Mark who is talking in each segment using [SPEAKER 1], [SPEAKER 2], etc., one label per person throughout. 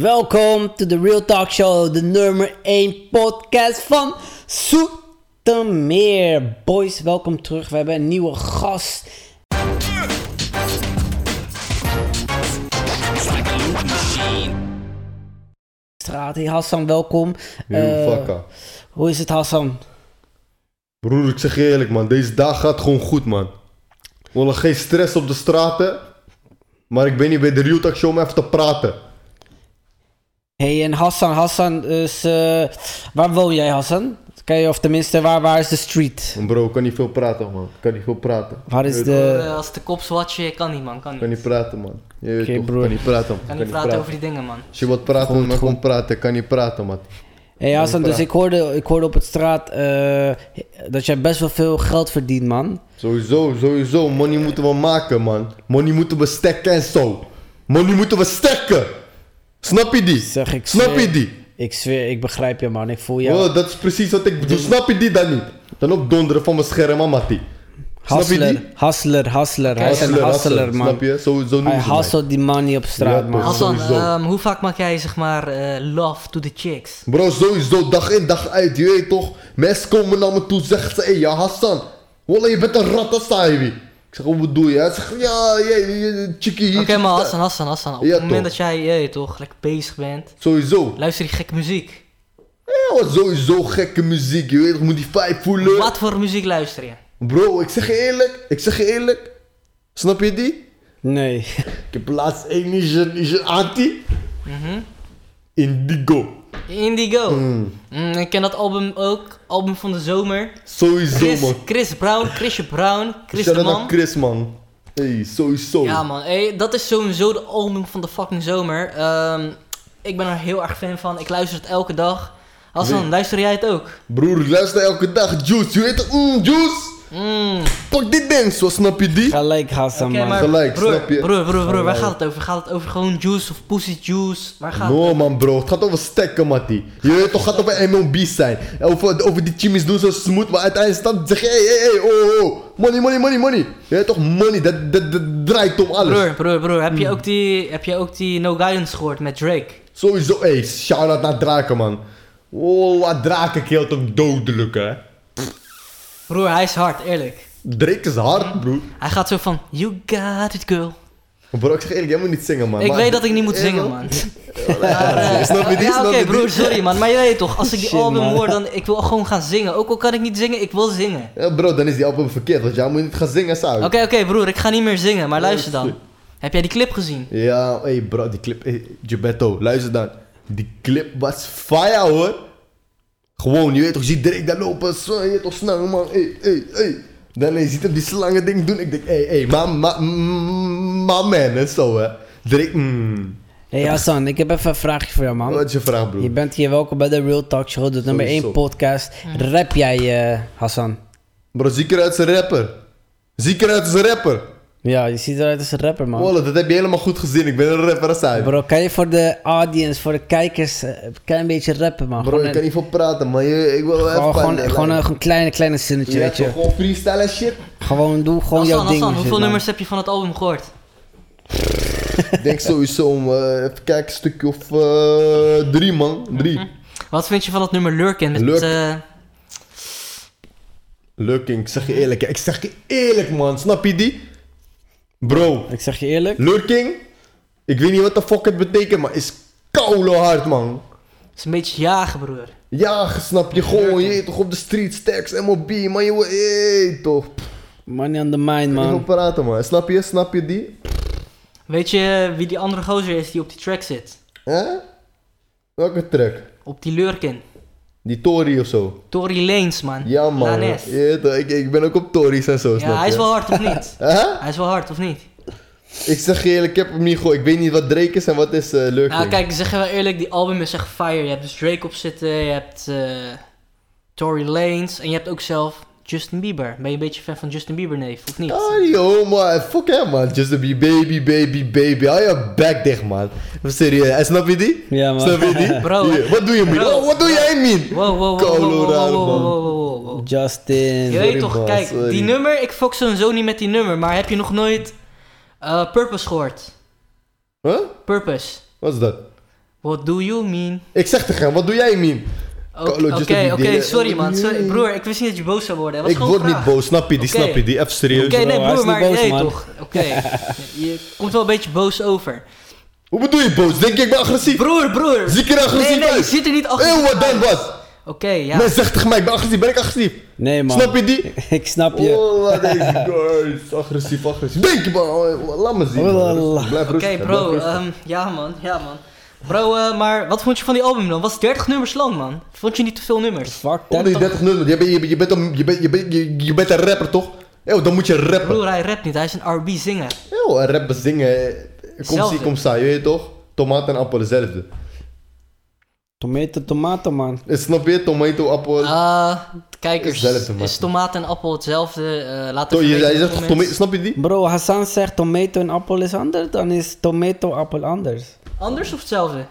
[SPEAKER 1] Welkom to de Real Talk Show, de nummer 1 podcast van Zoetermeer. Boys, welkom terug. We hebben een nieuwe gast. Straat, hey Hassan, welkom.
[SPEAKER 2] Heel
[SPEAKER 1] Eh,
[SPEAKER 2] vakka.
[SPEAKER 1] hoe is het Hassan?
[SPEAKER 2] Broer, ik zeg je eerlijk man, deze dag gaat gewoon goed man. Wallah, geen stress op de straten. Maar ik ben hier bij de Real Talk Show om even te praten.
[SPEAKER 1] Hey, en Hassan, Hassan is... eh, waar woon jij Hassan? Kan je, of tenminste, waar, waar is de street?
[SPEAKER 2] Bro, ik kan niet veel praten man. Ik kan niet veel praten.
[SPEAKER 1] Waar is
[SPEAKER 3] Eh,
[SPEAKER 1] de...
[SPEAKER 3] als de kop zwart je kan niet man, kan
[SPEAKER 2] Ik
[SPEAKER 3] niet.
[SPEAKER 2] kan niet praten man. Je weet
[SPEAKER 1] Oké,
[SPEAKER 2] toch, ik
[SPEAKER 1] broer.
[SPEAKER 2] kan niet praten man. Ik
[SPEAKER 3] Kan niet praten over die dingen man.
[SPEAKER 2] Als je wat praat,
[SPEAKER 1] Goed,
[SPEAKER 2] dan
[SPEAKER 1] goed.
[SPEAKER 2] kom praten. Ik kan niet praten man.
[SPEAKER 1] Hey Hassan, dus
[SPEAKER 2] praten.
[SPEAKER 1] ik hoorde, ik hoorde op het straat eh, dat jij best wel veel geld verdient, man.
[SPEAKER 2] Sowieso, sowieso. Money moeten we maken man. Money moeten we stekken en zo. Money moeten we stekken. Snap je die?
[SPEAKER 1] Zeg, ik
[SPEAKER 2] Snap je
[SPEAKER 1] zweer-
[SPEAKER 2] die?
[SPEAKER 1] Ik zweer, ik begrijp je, man. Ik voel jou.
[SPEAKER 2] Oh, dat is precies wat ik
[SPEAKER 1] Dus-
[SPEAKER 2] bedoel. Snap je die dan niet? Dan ook donderen van mijn scherm aan Mattie. Snap je
[SPEAKER 1] hustler,
[SPEAKER 2] die?
[SPEAKER 1] hustler, hustler. Hij is een
[SPEAKER 2] Hustler,
[SPEAKER 1] hustler, man.
[SPEAKER 2] Snap je? Zo, zo
[SPEAKER 1] Hij
[SPEAKER 2] noemen ze mij.
[SPEAKER 1] hustelt die man niet op straat,
[SPEAKER 2] Ja,
[SPEAKER 1] man.
[SPEAKER 2] toch.
[SPEAKER 3] Hassan,
[SPEAKER 2] sowieso.
[SPEAKER 3] ehm, hoe vaak maak jij zeg maar eh, love to the chicks?
[SPEAKER 2] Bro, sowieso dag in dag uit. Je weet toch? Mensen komen naar me toe zeggen ze... Hé, ja Hassan. Wallah, je bent een ratasaiwi. Ik zeg, "Oh, wat bedoel je? Hij zegt, ja, je, je, je chickie hier.
[SPEAKER 3] Oké maar Hassan, Hassan, Hassan. Op
[SPEAKER 2] Ja,
[SPEAKER 3] het moment
[SPEAKER 2] toch.
[SPEAKER 3] dat jij eh, toch lekker bezig bent,
[SPEAKER 2] Sowieso.
[SPEAKER 3] luister die gekke muziek.
[SPEAKER 2] Ja, wat sowieso gekke muziek. Je weet toch? Moet die vibe voelen.
[SPEAKER 3] Wat voor muziek luister je?
[SPEAKER 2] Bro, ik zeg je eerlijk. Ik zeg je eerlijk. Snap je die?
[SPEAKER 1] Nee.
[SPEAKER 2] Ik heb laatst één is een, is een anti. Indigo.
[SPEAKER 3] Indigo.
[SPEAKER 2] Hmm.
[SPEAKER 3] Mm, ik ken dat album ook, album van de zomer.
[SPEAKER 2] Sowieso,
[SPEAKER 3] Chris,
[SPEAKER 2] man.
[SPEAKER 3] Chris Brown, Chrisje Brown, Chris de
[SPEAKER 2] Shout-out naar
[SPEAKER 3] man.
[SPEAKER 2] Chris, man. Hey, sowieso.
[SPEAKER 3] Ja man, hey, dat is sowieso de album van de fucking zomer. Ehm, ik ben er heel erg fan van, ik luister het elke dag. Hassan,
[SPEAKER 2] Wie?
[SPEAKER 3] luister jij het ook?
[SPEAKER 2] Broer, ik luister elke dag. Juice, je weet het? Mm, juice.
[SPEAKER 3] Mm.
[SPEAKER 2] Pak dit ding, zo snap je die?
[SPEAKER 1] Gelijk, Hassan,
[SPEAKER 3] Oké,
[SPEAKER 1] man.
[SPEAKER 3] maar
[SPEAKER 2] Gelijk,
[SPEAKER 3] broer,
[SPEAKER 2] snap je?
[SPEAKER 3] Broer, broer, broer, waar
[SPEAKER 2] Gelijk.
[SPEAKER 3] gaat het over? Gaat het over gewoon juice of pussy juice? Waar gaat het
[SPEAKER 2] No man bro, het gaat over stekken mattie. Je weet toch, het gaat over MLB zijn. Over, over die chimmies doen zo smooth, maar uiteindelijk staat zeg je hey, hey, hey, oh, oh. Money, money, money, money. Je weet toch, money, dat, dat, dat draait om alles.
[SPEAKER 3] Broer, broer, broer, heb, je ook die, heb je ook die No Guidance gehoord met Drake?
[SPEAKER 2] Sowieso, hey, shout-out naar Draken man. Oh, wat Draken keelt hem dodelijk hè.
[SPEAKER 3] Broer, hij is hard, eerlijk.
[SPEAKER 2] Drake is hard broer.
[SPEAKER 3] Hij gaat zo van, you got it girl.
[SPEAKER 2] Bro, ik zeg eerlijk, jij moet niet zingen man.
[SPEAKER 3] Ik
[SPEAKER 2] Maar-
[SPEAKER 3] weet dat ik niet moet
[SPEAKER 2] Eh,
[SPEAKER 3] zingen,
[SPEAKER 2] man.
[SPEAKER 3] man. eh,
[SPEAKER 2] Ja, snap je die?
[SPEAKER 3] Ja,
[SPEAKER 2] Snap
[SPEAKER 3] oké,
[SPEAKER 2] je die?
[SPEAKER 3] broer, sorry, man. Maar je weet toch, als ik die
[SPEAKER 1] Shit,
[SPEAKER 3] album
[SPEAKER 1] man.
[SPEAKER 3] hoor, dan ik wil gewoon gaan zingen. Ook al kan ik niet zingen, ik wil zingen.
[SPEAKER 2] Ja, bro, dan is die album verkeerd, want jij moet niet gaan zingen, zou.
[SPEAKER 3] Oké, oké, broer, ik ga niet meer zingen, maar luister
[SPEAKER 2] is
[SPEAKER 3] dan. Heb jij die clip gezien?
[SPEAKER 2] Ja, hey bro, die clip. Hey, Gebetto, luister dan. Die clip was fire hoor. Gewoon, je weet toch, je ziet Drake daar lopen. Zo, je weet toch, snel man. Hey, hey, hey. Dan hey, je ziet hem die slangen ding doen. Ik denk, hey, hey, ma, ma, ma, man en zo hè. Drake, mm.
[SPEAKER 1] Hey, Hassan, ik heb even een vraagje voor jou, man.
[SPEAKER 2] Wat is je vraag,
[SPEAKER 1] Je
[SPEAKER 2] broer?
[SPEAKER 1] bent hier welkom bij de Real Talk Show, de nummer 1
[SPEAKER 2] Sowieso.
[SPEAKER 1] podcast.
[SPEAKER 3] Hmm.
[SPEAKER 1] Rap jij, eh, Hassan?
[SPEAKER 2] Bro, ziekeruit is een rapper. Ziekeruit is een rapper.
[SPEAKER 1] Ja, je ziet eruit als een rapper, man.
[SPEAKER 2] Wallah, dat heb je helemaal goed gezien. Ik ben een rapper als hij.
[SPEAKER 1] Bro, kan je voor de audience, voor de kijkers, eh, een klein beetje rappen, man?
[SPEAKER 2] Bro,
[SPEAKER 1] Gewoon
[SPEAKER 2] ik
[SPEAKER 1] een-
[SPEAKER 2] kan niet veel praten, maar je, ik wil wel
[SPEAKER 1] Gewoon,
[SPEAKER 2] even...
[SPEAKER 1] gewoon, gewoon een gewoon kleine, kleine zinnetje,
[SPEAKER 2] je hebt
[SPEAKER 1] weet je.
[SPEAKER 2] toch gewoon freestyle en shit.
[SPEAKER 1] Gewoon doe gewoon
[SPEAKER 3] Hassan,
[SPEAKER 1] jouw ding. Nou,
[SPEAKER 3] Hassan,
[SPEAKER 1] shit,
[SPEAKER 3] hoeveel
[SPEAKER 1] man.
[SPEAKER 3] nummers heb je van het album gehoord?
[SPEAKER 2] Ik denk sowieso om, eh, even kijken, een stukje of eh, drie man. Drie.
[SPEAKER 3] Mhm. Wat vind je van dat nummer Lurken? Met,
[SPEAKER 2] Lurken.
[SPEAKER 3] eh,
[SPEAKER 2] Lurking, ik zeg je eerlijk, hè. ik zeg je eerlijk man, snap je die? Bro,
[SPEAKER 1] Ik zeg je eerlijk.
[SPEAKER 2] lurking, ik weet niet wat de fuck het betekent, maar is koude hard man.
[SPEAKER 3] Het is een beetje jagen, broer.
[SPEAKER 2] Ja, snap je gewoon, je weet toch op de street, stacks, MOB, man, je wil- hey, toch. Pff,
[SPEAKER 1] Money on the mind,
[SPEAKER 2] Ik wil
[SPEAKER 1] man.
[SPEAKER 2] praten man, snap je, snap je die?
[SPEAKER 3] Weet je wie die andere gozer is die op die track zit?
[SPEAKER 2] Hè? Welke track?
[SPEAKER 3] Op die Lurken.
[SPEAKER 2] Die Tory of zo?
[SPEAKER 3] Tory Lanez, man.
[SPEAKER 2] Ja man,
[SPEAKER 3] Lanes.
[SPEAKER 2] je weet toch, ik, ik ben ook op Tories en zo, snap
[SPEAKER 3] Ja, hij is
[SPEAKER 2] je?
[SPEAKER 3] wel hard of niet?
[SPEAKER 2] Hè?
[SPEAKER 3] hij is wel hard of niet?
[SPEAKER 2] Ik zeg je eerlijk, ik heb hem niet gehoord. Ik weet niet wat Drake is en wat is eh Lurking.
[SPEAKER 3] Nou, kijk, zeggen we eerlijk, die album is echt fire. Je hebt dus Drake op zitten, je hebt eh, Tory Lanez en je hebt ook zelf Justin Bieber. Ben je een beetje fan van Justin Bieber, neef, of niet?
[SPEAKER 2] Ah, die homo. Fuck hem, man. Just to be baby, baby, baby. Hou je bek dicht, man. Serieus. En snap je die?
[SPEAKER 1] Ja, man.
[SPEAKER 2] Snap je die?
[SPEAKER 3] Bro.
[SPEAKER 2] Hier, Wat doe je, mean?
[SPEAKER 3] Bro.
[SPEAKER 2] Oh, Wat doe jij, mean?
[SPEAKER 3] Wow, wow, wow, wow, wow, wow,
[SPEAKER 2] Koude
[SPEAKER 3] wow,
[SPEAKER 2] man.
[SPEAKER 3] wow, wow, wow, wow. Je
[SPEAKER 1] Justin.
[SPEAKER 3] weet
[SPEAKER 2] man,
[SPEAKER 3] toch, kijk,
[SPEAKER 2] sorry.
[SPEAKER 3] die nummer, ik fok sowieso niet met die nummer, maar heb je nog nooit eh, Purpose gehoord?
[SPEAKER 2] Huh?
[SPEAKER 3] Purpose.
[SPEAKER 2] Wat is dat?
[SPEAKER 3] What do you mean?
[SPEAKER 2] Ik zeg tegen hem, wat doe jij, Mien?
[SPEAKER 3] Oké,
[SPEAKER 2] Carlo, just
[SPEAKER 3] Oké,
[SPEAKER 2] a
[SPEAKER 3] oké,
[SPEAKER 2] video.
[SPEAKER 3] sorry man. Sorry,
[SPEAKER 2] Nee.
[SPEAKER 3] broer, ik wist niet dat je boos zou worden. Het was
[SPEAKER 2] Ik
[SPEAKER 3] gewoon
[SPEAKER 2] word
[SPEAKER 3] een
[SPEAKER 2] niet
[SPEAKER 3] vraag.
[SPEAKER 2] boos, snap je? Die
[SPEAKER 3] Oké.
[SPEAKER 2] snap je, die even serieus.
[SPEAKER 3] Oké, nee
[SPEAKER 1] bro, hij is
[SPEAKER 3] broer,
[SPEAKER 1] niet
[SPEAKER 3] maar
[SPEAKER 1] boos,
[SPEAKER 3] nee
[SPEAKER 1] man.
[SPEAKER 3] toch. Oké, je komt wel een beetje boos over.
[SPEAKER 2] Hoe bedoel je boos? Denk je, ik ben agressief?
[SPEAKER 3] Broer, broer.
[SPEAKER 2] Zie ik er agressief
[SPEAKER 3] Nee, nee, je
[SPEAKER 2] uit?
[SPEAKER 3] ziet er niet
[SPEAKER 2] Hé,
[SPEAKER 3] agressief
[SPEAKER 2] wat dan
[SPEAKER 3] uit.
[SPEAKER 2] wat?
[SPEAKER 3] Oké, ja.
[SPEAKER 2] Men zegt tegen mij, ik ben agressief, ben ik agressief?
[SPEAKER 1] Nee, man.
[SPEAKER 2] Snap je die?
[SPEAKER 1] Ik snap je.
[SPEAKER 2] Oh, wat deze guys. Agressief, agressief. Denk je, man. oh, Laat me zien. man.
[SPEAKER 1] Wallah.
[SPEAKER 2] Blijf
[SPEAKER 3] Oké,
[SPEAKER 2] rustig.
[SPEAKER 3] bro.
[SPEAKER 2] blijf rustig.
[SPEAKER 3] ehm, ja, man. Ja, man. Bro, eh, maar wat vond je van die album dan? Was 30 nummers lang, man? Vond je niet te veel nummers?
[SPEAKER 1] Fuck
[SPEAKER 2] Onder die
[SPEAKER 1] dat.
[SPEAKER 2] 30 nummers, je bent- je bent- je bent een- je bent- je bent- je- je bent een rapper, toch? Yo, dan moet je rappen.
[SPEAKER 3] Broer, hij rapt niet. Hij is een R&B zinger.
[SPEAKER 2] Yo, en rappen, zingen. eh, Kom zie,
[SPEAKER 3] Hetzelfde.
[SPEAKER 2] kom sta, je weet toch? Tomaat en appel, hetzelfde.
[SPEAKER 1] Tomato, tomato, man.
[SPEAKER 2] Eh, Snap je? Tomato, appel.
[SPEAKER 3] Ah, kijkers.
[SPEAKER 2] Hetzelfde, man.
[SPEAKER 3] Is tomaat en appel hetzelfde? Eh laat
[SPEAKER 2] Toch,
[SPEAKER 3] even
[SPEAKER 2] je-
[SPEAKER 3] weten in
[SPEAKER 2] Hij
[SPEAKER 3] de
[SPEAKER 2] zegt toch
[SPEAKER 3] comments.
[SPEAKER 2] tomato, snap je die?
[SPEAKER 1] Bro, Hassan zegt tomato en appel is anders, dan is tomato appel anders.
[SPEAKER 3] Anders of hetzelfde?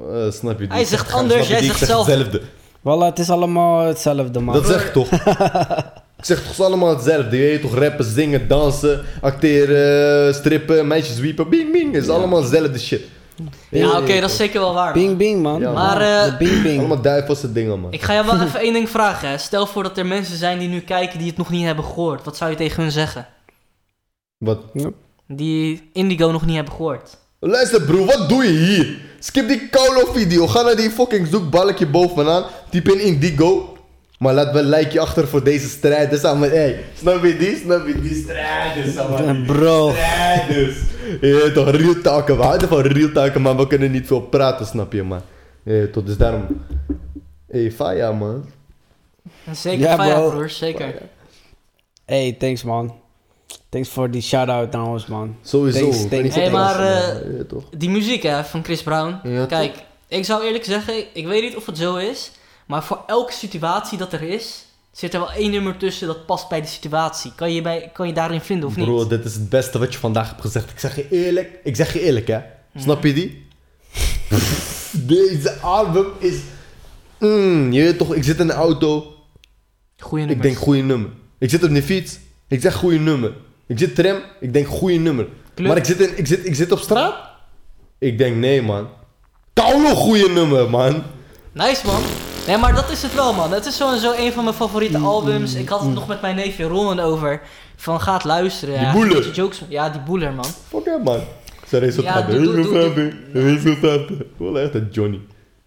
[SPEAKER 2] Eh, snap je die?
[SPEAKER 3] Hij zegt
[SPEAKER 2] Snap je
[SPEAKER 3] anders,
[SPEAKER 2] die?
[SPEAKER 3] jij
[SPEAKER 2] Ik
[SPEAKER 3] zegt
[SPEAKER 2] zeg
[SPEAKER 3] zelf.
[SPEAKER 2] hetzelfde.
[SPEAKER 1] Voilà, het is allemaal hetzelfde, man.
[SPEAKER 2] Dat zeg ik toch? ik zeg toch allemaal hetzelfde. Je weet toch, rappen, zingen, dansen, acteren, eh, strippen, meisjes wiepen, bing bing. Het is allemaal hetzelfde shit.
[SPEAKER 3] Ja, oké, dat is zeker wel waar. man.
[SPEAKER 1] Bing bing, man.
[SPEAKER 2] Ja,
[SPEAKER 3] Maar,
[SPEAKER 1] De
[SPEAKER 3] eh,
[SPEAKER 1] bing bing.
[SPEAKER 2] Allemaal duivelse dingen, man.
[SPEAKER 3] Ik ga jou wel even één ding vragen. Hè. Stel voor dat er mensen zijn die nu kijken die het nog niet hebben gehoord. Wat zou je tegen hun zeggen?
[SPEAKER 2] Wat?
[SPEAKER 3] Die Indigo nog niet hebben gehoord.
[SPEAKER 2] Luister bro, wat doe je hier? Skip die Kaulo video. Ga naar die fucking zoekbalkje bovenaan. Typ in Indigo. Maar laat wel een likeje achter voor deze strijders. Samen, hey, snap je die? Snap je die strijders? Samen.
[SPEAKER 1] Bro.
[SPEAKER 2] Strijders. Je weet toch, real talken. We houden van real talken, maar we kunnen niet veel praten, snap je, man. Hé, tot dus daarom. Hé, hey, Faya, man.
[SPEAKER 3] En zeker
[SPEAKER 1] Ja,
[SPEAKER 3] Faya,
[SPEAKER 1] bro.
[SPEAKER 3] broer, zeker.
[SPEAKER 1] Hey, thanks, man. Thanks voor die shout-out trouwens, man.
[SPEAKER 2] Sowieso.
[SPEAKER 1] Thanks,
[SPEAKER 2] Ik ben
[SPEAKER 1] thanks,
[SPEAKER 2] niet
[SPEAKER 3] Hey,
[SPEAKER 2] zo
[SPEAKER 3] maar,
[SPEAKER 2] trots, man.
[SPEAKER 3] eh,
[SPEAKER 2] Je weet toch.
[SPEAKER 3] Die muziek hè, van Chris Brown.
[SPEAKER 2] Ja,
[SPEAKER 3] Kijk, ik zou eerlijk zeggen, ik weet niet of het zo is. Maar voor elke situatie dat er is, zit er wel één nummer tussen dat past bij de situatie. Kan je, bij, kan je daarin vinden of niet?
[SPEAKER 2] Bro, dit is het beste wat je vandaag hebt gezegd. Ik zeg je eerlijk. Ik zeg je eerlijk, hè. Snap je die? Deze album is... Mm, je weet toch, ik zit in de auto.
[SPEAKER 3] Goeie
[SPEAKER 2] Ik
[SPEAKER 3] nummers.
[SPEAKER 2] denk goede nummer. Ik zit op de fiets. Ik zeg goede nummer. Ik zit tram. Ik denk goede nummer.
[SPEAKER 3] Club.
[SPEAKER 2] Maar ik zit, in, ik, zit, ik zit op straat. Ik denk nee, man. Koude goede nummer, man.
[SPEAKER 3] Nice man. Nee, maar dat is het wel man. Het is sowieso een van mijn favoriete
[SPEAKER 2] Mm,
[SPEAKER 3] albums. Ik had het nog met mijn neefje Roland over. Van gaat luisteren.
[SPEAKER 2] Die
[SPEAKER 3] ja,
[SPEAKER 2] boeler.
[SPEAKER 3] een beetje Jokes. Ja, die boeler man.
[SPEAKER 2] Fuck yeah, man. Sorry, zo
[SPEAKER 3] Ja,
[SPEAKER 2] gaat het.
[SPEAKER 3] doe- doe- doe-
[SPEAKER 2] Heel veel tappen. Wel echt een Johnny.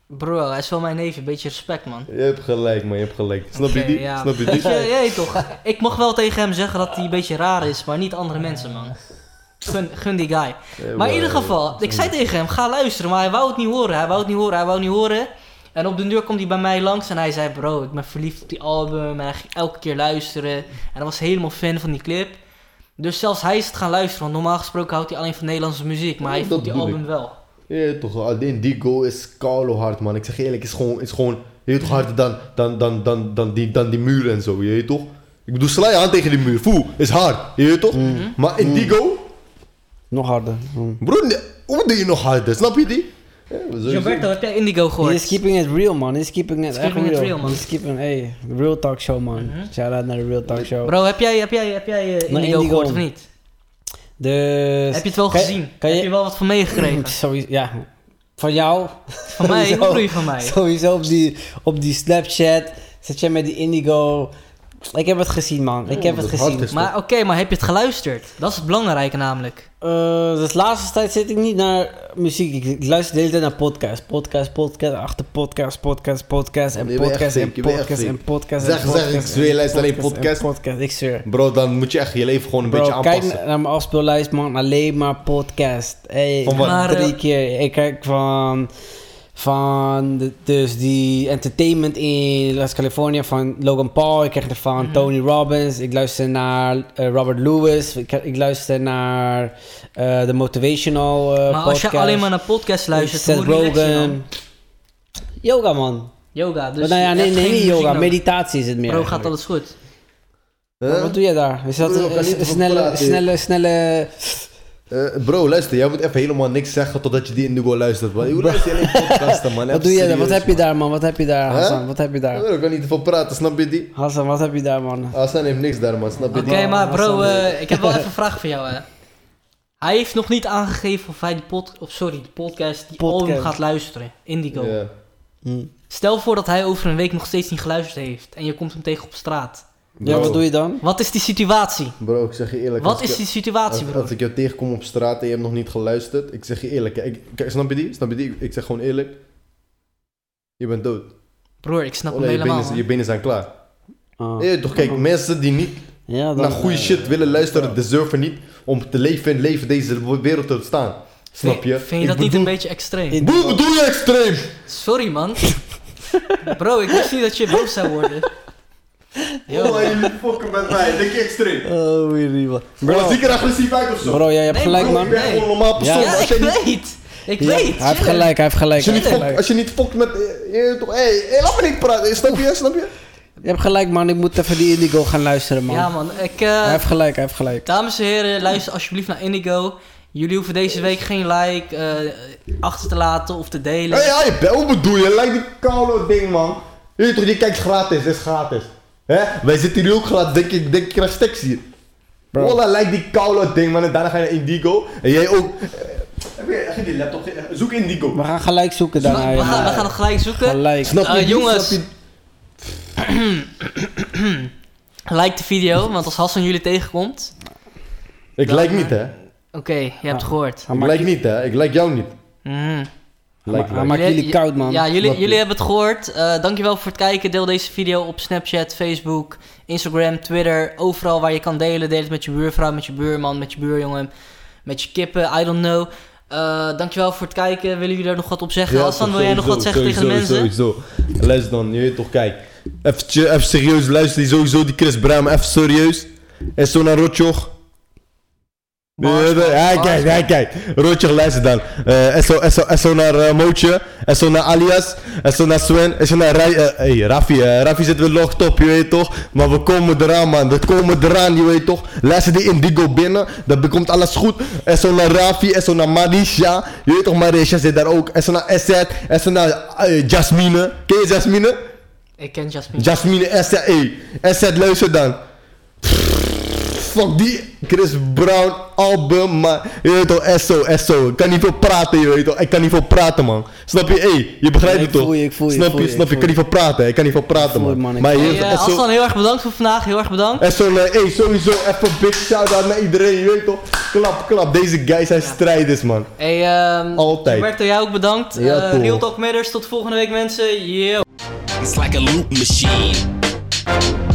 [SPEAKER 3] Bro, hij is wel mijn neefje. Beetje respect man.
[SPEAKER 2] Je hebt gelijk, man. Je hebt gelijk. Snap je
[SPEAKER 3] Oké,
[SPEAKER 2] die?
[SPEAKER 3] ja.
[SPEAKER 2] Snap je
[SPEAKER 3] Weet
[SPEAKER 2] die?
[SPEAKER 3] je, jee, toch. Ik mag wel tegen hem zeggen dat hij een beetje raar is, maar niet andere mensen, man. Gun, gun die guy. Maar in ieder
[SPEAKER 2] eh,
[SPEAKER 3] geval, ik
[SPEAKER 2] hm.
[SPEAKER 3] zei tegen hem, ga luisteren, maar hij wou het niet horen. Hij wou het niet horen, hij wou het niet horen. En op de deur komt hij bij mij langs en hij zei, bro, ik ben verliefd op die album. En hij ging elke keer luisteren. En hij was helemaal fan van die clip. Dus zelfs hij is het gaan luisteren, want normaal gesproken houdt hij alleen van Nederlandse muziek. Maar
[SPEAKER 2] Ja,
[SPEAKER 3] hij
[SPEAKER 2] dat
[SPEAKER 3] vond die
[SPEAKER 2] bedoel
[SPEAKER 3] album wel.
[SPEAKER 2] Ja, toch, alleen die goal is kalo hard, man. Ik zeg je eerlijk, is gewoon, is gewoon je weet toch, harder dan, dan, dan, dan, dan, die, dan die muur en zo, je weet toch? Ik bedoel, sla je aan tegen die muur, foe, is hard, je weet toch? Maar in die goal,
[SPEAKER 1] Nog harder. Mm.
[SPEAKER 2] broer, nee, hoe doe je nog harder, snap je die? Ja, we sowieso-
[SPEAKER 3] Gilberto, heb jij Indigo
[SPEAKER 1] He
[SPEAKER 3] gehoord?
[SPEAKER 1] is keeping it real, man. He is keeping it
[SPEAKER 3] He's
[SPEAKER 1] echt
[SPEAKER 3] keeping it
[SPEAKER 1] real.
[SPEAKER 3] real, man. Mhm.
[SPEAKER 1] He is keeping, hey, real talk show, man. Shout-out naar de real talk show.
[SPEAKER 3] Bro, heb jij, heb jij, heb jij eh, Indigo,
[SPEAKER 1] Indigo.
[SPEAKER 3] gehoord of niet?
[SPEAKER 1] Dus...
[SPEAKER 3] Heb je het wel
[SPEAKER 1] kan-
[SPEAKER 3] gezien?
[SPEAKER 1] Kan
[SPEAKER 3] Heb je
[SPEAKER 1] je... Mm,
[SPEAKER 3] wel wat van meegekregen?
[SPEAKER 1] Sowieso, ja. Van jou.
[SPEAKER 3] Van mij?
[SPEAKER 1] Sowieso.
[SPEAKER 3] Hoe bedoel je van mij?
[SPEAKER 1] Sowieso op die, op die Snapchat. Zit jij met die Indigo. Ik heb het gezien, man. Ik
[SPEAKER 2] Oh,
[SPEAKER 1] heb het
[SPEAKER 2] dat hard
[SPEAKER 1] gezien.
[SPEAKER 2] is.
[SPEAKER 3] Maar oké, maar heb je het geluisterd? Dat is het belangrijke namelijk.
[SPEAKER 1] Eh, dus de laatste tijd zit ik niet naar muziek. Ik, ik luister de hele tijd naar podcast. Podcast, podcast, achter podcast, podcast, podcast. En
[SPEAKER 2] Je bent echt
[SPEAKER 1] podcast, en
[SPEAKER 2] ziek, je bent echt
[SPEAKER 1] podcast,
[SPEAKER 2] ziek.
[SPEAKER 1] en podcast.
[SPEAKER 2] Zeg,
[SPEAKER 1] en
[SPEAKER 2] zeg,
[SPEAKER 1] podcast,
[SPEAKER 2] ik zweer,
[SPEAKER 1] en
[SPEAKER 2] luister alleen podcast.
[SPEAKER 1] en podcast. Ik zweer.
[SPEAKER 2] Bro, dan moet je echt je leven gewoon een beetje
[SPEAKER 1] Bro, kijk
[SPEAKER 2] aanpassen.
[SPEAKER 1] naar mijn afspeellijst, man. Alleen maar podcast. Hey,
[SPEAKER 2] Van wat?
[SPEAKER 3] Maar,
[SPEAKER 1] drie
[SPEAKER 3] eh,
[SPEAKER 1] keer. Ik kijk van... Van de- dus die entertainment in Las California van Logan Paul. Ik krijg er van
[SPEAKER 3] Mhm.
[SPEAKER 1] Tony Robbins. Ik luister naar eh, Robert Lewis. Ik, ik luister naar eh, de motivational eh,
[SPEAKER 3] maar als
[SPEAKER 1] podcast.
[SPEAKER 3] je alleen maar naar podcasts luistert,
[SPEAKER 1] Seth
[SPEAKER 3] hoe relax je dan?
[SPEAKER 1] Rogan. Yoga, man.
[SPEAKER 3] Yoga, dus...
[SPEAKER 1] nou ja,
[SPEAKER 3] je
[SPEAKER 1] nee,
[SPEAKER 3] hebt
[SPEAKER 1] nee,
[SPEAKER 3] geen
[SPEAKER 1] niet
[SPEAKER 3] muziek
[SPEAKER 1] yoga.
[SPEAKER 3] nodig.
[SPEAKER 1] Meditatie is het meer.
[SPEAKER 3] Bro,
[SPEAKER 1] eigenlijk.
[SPEAKER 3] gaat alles goed?
[SPEAKER 1] Maar
[SPEAKER 2] Huh?
[SPEAKER 1] Wat doe jij daar? Is dat
[SPEAKER 2] Bro,
[SPEAKER 1] een-
[SPEAKER 2] ik kan
[SPEAKER 1] een-
[SPEAKER 2] niet
[SPEAKER 1] een
[SPEAKER 2] over
[SPEAKER 1] snelle,
[SPEAKER 2] praten.
[SPEAKER 1] snelle, snelle...
[SPEAKER 2] Eh, bro, luister, jij moet even helemaal niks zeggen totdat je die Indigo luistert, man. Hoe luister je alleen podcasten,
[SPEAKER 1] Wat
[SPEAKER 2] man? Even
[SPEAKER 1] doe je daar?
[SPEAKER 2] serieus,
[SPEAKER 1] Wat heb je daar, man? Wat heb je daar,
[SPEAKER 2] Huh?
[SPEAKER 1] Hassan? Wat heb je daar?
[SPEAKER 2] man. Ik kan niet te veel praten, snap je die? Ah,
[SPEAKER 1] Hassan, wat heb je daar, man?
[SPEAKER 2] Hassan heeft niks daar, man, snap je
[SPEAKER 3] Oké,
[SPEAKER 2] die?
[SPEAKER 3] maar
[SPEAKER 1] dat is
[SPEAKER 3] bro,
[SPEAKER 1] wel
[SPEAKER 3] eh, ik heb wel even een vraag voor jou, hè. Hij heeft nog niet aangegeven of hij die pod, of sorry, de podcast, die
[SPEAKER 1] Podcast.
[SPEAKER 3] album gaat luisteren. Indigo.
[SPEAKER 2] Ja.
[SPEAKER 1] Hm.
[SPEAKER 3] Stel voor dat hij over een week nog steeds niet geluisterd heeft en je komt hem tegen op straat.
[SPEAKER 1] Ja, wat doe je dan?
[SPEAKER 3] Wat is die situatie?
[SPEAKER 2] Bro, ik zeg je eerlijk.
[SPEAKER 3] Wat
[SPEAKER 2] als
[SPEAKER 3] is
[SPEAKER 2] ik-
[SPEAKER 3] die situatie,
[SPEAKER 2] als,
[SPEAKER 3] broer?
[SPEAKER 2] als ik jou tegenkom op straat en je hebt nog niet geluisterd, ik zeg je eerlijk. Ik, kijk, snap je die? Snap je die? Ik, ik zeg gewoon eerlijk. Je bent dood.
[SPEAKER 3] Broer, ik snap
[SPEAKER 2] Oh,
[SPEAKER 3] hem
[SPEAKER 2] nee, je,
[SPEAKER 3] helemaal.
[SPEAKER 2] benen, zijn-
[SPEAKER 1] dus
[SPEAKER 3] man.
[SPEAKER 2] je benen zijn klaar.
[SPEAKER 1] Ah.
[SPEAKER 2] Eh, toch kijk, mensen die niet
[SPEAKER 1] Ja, dan,
[SPEAKER 2] naar goede
[SPEAKER 1] eh,
[SPEAKER 2] shit willen luisteren, deserven niet om te leven en leven deze wereld te staan. Snap je?
[SPEAKER 3] Vind, vind je dat
[SPEAKER 2] Ik
[SPEAKER 3] niet een
[SPEAKER 2] bedoel-
[SPEAKER 3] beetje extreem?
[SPEAKER 1] In-
[SPEAKER 2] Boe, bedoel je extreem?
[SPEAKER 3] Sorry, man. Bro, ik wist niet dat je boos zou worden. Yo.
[SPEAKER 2] Oh, jullie fokken met mij. Denk je extreem?
[SPEAKER 1] Oh, really, man.
[SPEAKER 2] Bro,
[SPEAKER 1] Bro,
[SPEAKER 2] zie ik er agressief uit of zo?
[SPEAKER 1] bro, jij hebt
[SPEAKER 3] Nee,
[SPEAKER 1] gelijk,
[SPEAKER 3] bro,
[SPEAKER 1] man.
[SPEAKER 2] Ik ben gewoon een normaal persoon.
[SPEAKER 1] Ja.
[SPEAKER 3] Ja,
[SPEAKER 2] Als
[SPEAKER 3] ik
[SPEAKER 2] je niet-
[SPEAKER 3] weet. Ik
[SPEAKER 1] Ja,
[SPEAKER 3] weet.
[SPEAKER 1] hij heeft
[SPEAKER 3] chill.
[SPEAKER 1] gelijk, hij heeft gelijk.
[SPEAKER 2] Als je, niet
[SPEAKER 1] Hij heeft
[SPEAKER 2] fokt,
[SPEAKER 1] gelijk.
[SPEAKER 2] als je niet fokt met... eh, eh, toch, Hé, hé, laat me niet praten. eh, Snap je? Snap je?
[SPEAKER 1] Je hebt gelijk, man. Ik moet even die Indigo gaan luisteren, man.
[SPEAKER 3] Ja, man. Ik, eh,
[SPEAKER 1] Hij heeft gelijk, hij heeft gelijk.
[SPEAKER 3] dames en heren, luister alsjeblieft naar Indigo. Jullie hoeven deze week geen like eh, achter te laten of te delen.
[SPEAKER 2] Hé,
[SPEAKER 1] Oh
[SPEAKER 2] ja, je bent- hoe bedoel je? Lijkt die koude ding, man. Je weet toch, je kijkt gratis. Is gratis. Hè? Wij zitten hier ook gratis. Denk ik, denk ik krijg tekst hier.
[SPEAKER 1] Bro.
[SPEAKER 2] Wallah, lijkt die koude ding, man. En daarna ga je naar Indigo. En jij ook. Eh, Heb je, heb je die laptop? Eh, Zoek Indigo.
[SPEAKER 1] We gaan gelijk zoeken
[SPEAKER 3] we,
[SPEAKER 1] daarna.
[SPEAKER 3] we
[SPEAKER 1] ja.
[SPEAKER 3] gaan, we gaan het gelijk zoeken.
[SPEAKER 1] Gelijk.
[SPEAKER 2] Snap je?
[SPEAKER 3] Eh, jongens.
[SPEAKER 2] Snap je?
[SPEAKER 3] Like de video, want als Hassan jullie tegenkomt.
[SPEAKER 2] Ik lijk niet, hè?
[SPEAKER 3] Oké, je hebt
[SPEAKER 1] Ah.
[SPEAKER 3] het gehoord.
[SPEAKER 1] Hij
[SPEAKER 2] Ik
[SPEAKER 1] maakt-
[SPEAKER 2] lijk niet, hè? Ik lijk jou niet.
[SPEAKER 3] Mhm.
[SPEAKER 2] Lijk,
[SPEAKER 1] hij
[SPEAKER 2] lijk.
[SPEAKER 1] maakt jullie
[SPEAKER 3] j-
[SPEAKER 1] koud, man.
[SPEAKER 3] Ja, jullie,
[SPEAKER 2] Snap je.
[SPEAKER 3] jullie hebben het gehoord. Eh, dankjewel voor het kijken. Deel deze video op Snapchat, Facebook, Instagram, Twitter. Overal waar je kan delen. Deel het met je buurvrouw, met je buurman, met je buurjongen, met je kippen. I don't know. Eh, dankjewel voor het kijken. Willen jullie er nog wat op zeggen? Hassan, wil jij nog wat zeggen tegen de mensen?
[SPEAKER 2] Sowieso, Les dan, je weet toch, kijk. Even, even serieus, luister die sowieso, die Chris Bram, even serieus. En zo naar Rotjoch.
[SPEAKER 3] Bars, bars,
[SPEAKER 2] Ja,
[SPEAKER 3] bars,
[SPEAKER 2] kijk, ja, kijk. Rotjoch, luister dan. Eh, En zo- en zo- en zo naar eh, Mootje, en zo naar Alias, en zo naar Sven, en zo naar Rai, eh, hey, Raffi. eh, Raffi zit weer log top, je weet toch. Maar we komen eraan, man. We komen eraan, je weet toch. Luister die Indigo binnen, dan bekomt alles goed. En zo naar Raffi, en zo naar Marisha. Je weet toch, Marisha zit daar ook. En zo naar Esset, en zo naar eh, Jasmine. Ken je Jasmine?
[SPEAKER 3] Ik ken Jasmine.
[SPEAKER 2] Jasmine E, Esset, hey. Esset, luister dan. Fuck die Chris Brown album, man. Je weet toch, SO, SO. Ik kan niet veel praten, je weet toch. Ik kan niet veel praten, man. Snap je? Hey, je begrijpt
[SPEAKER 1] Nee,
[SPEAKER 2] het
[SPEAKER 1] ik
[SPEAKER 2] toch?
[SPEAKER 1] voel je, ik voel je, ik
[SPEAKER 2] snap
[SPEAKER 1] voel
[SPEAKER 2] je?
[SPEAKER 1] je, ik
[SPEAKER 2] snap je? Ik kan
[SPEAKER 1] voel
[SPEAKER 2] niet veel praten, ik kan niet veel praten,
[SPEAKER 1] voel je,
[SPEAKER 2] man.
[SPEAKER 1] man, ik
[SPEAKER 2] Maar
[SPEAKER 3] Hey,
[SPEAKER 2] je
[SPEAKER 3] eh,
[SPEAKER 2] weet toch, SO.
[SPEAKER 3] Hassan, heel erg bedankt voor vandaag. Heel erg bedankt.
[SPEAKER 2] En zo, eh, hey, sowieso even big shout-out naar iedereen, je weet toch. Klap, klap. Deze guys zijn strijders, man.
[SPEAKER 3] Hey, ehm
[SPEAKER 2] Altijd.
[SPEAKER 3] Roberto, jij ook bedankt.
[SPEAKER 2] Ja,
[SPEAKER 3] Eh,
[SPEAKER 2] toch.
[SPEAKER 3] Real Talk Matters, tot volgende week mensen. Yeah.
[SPEAKER 4] It's like a loop machine.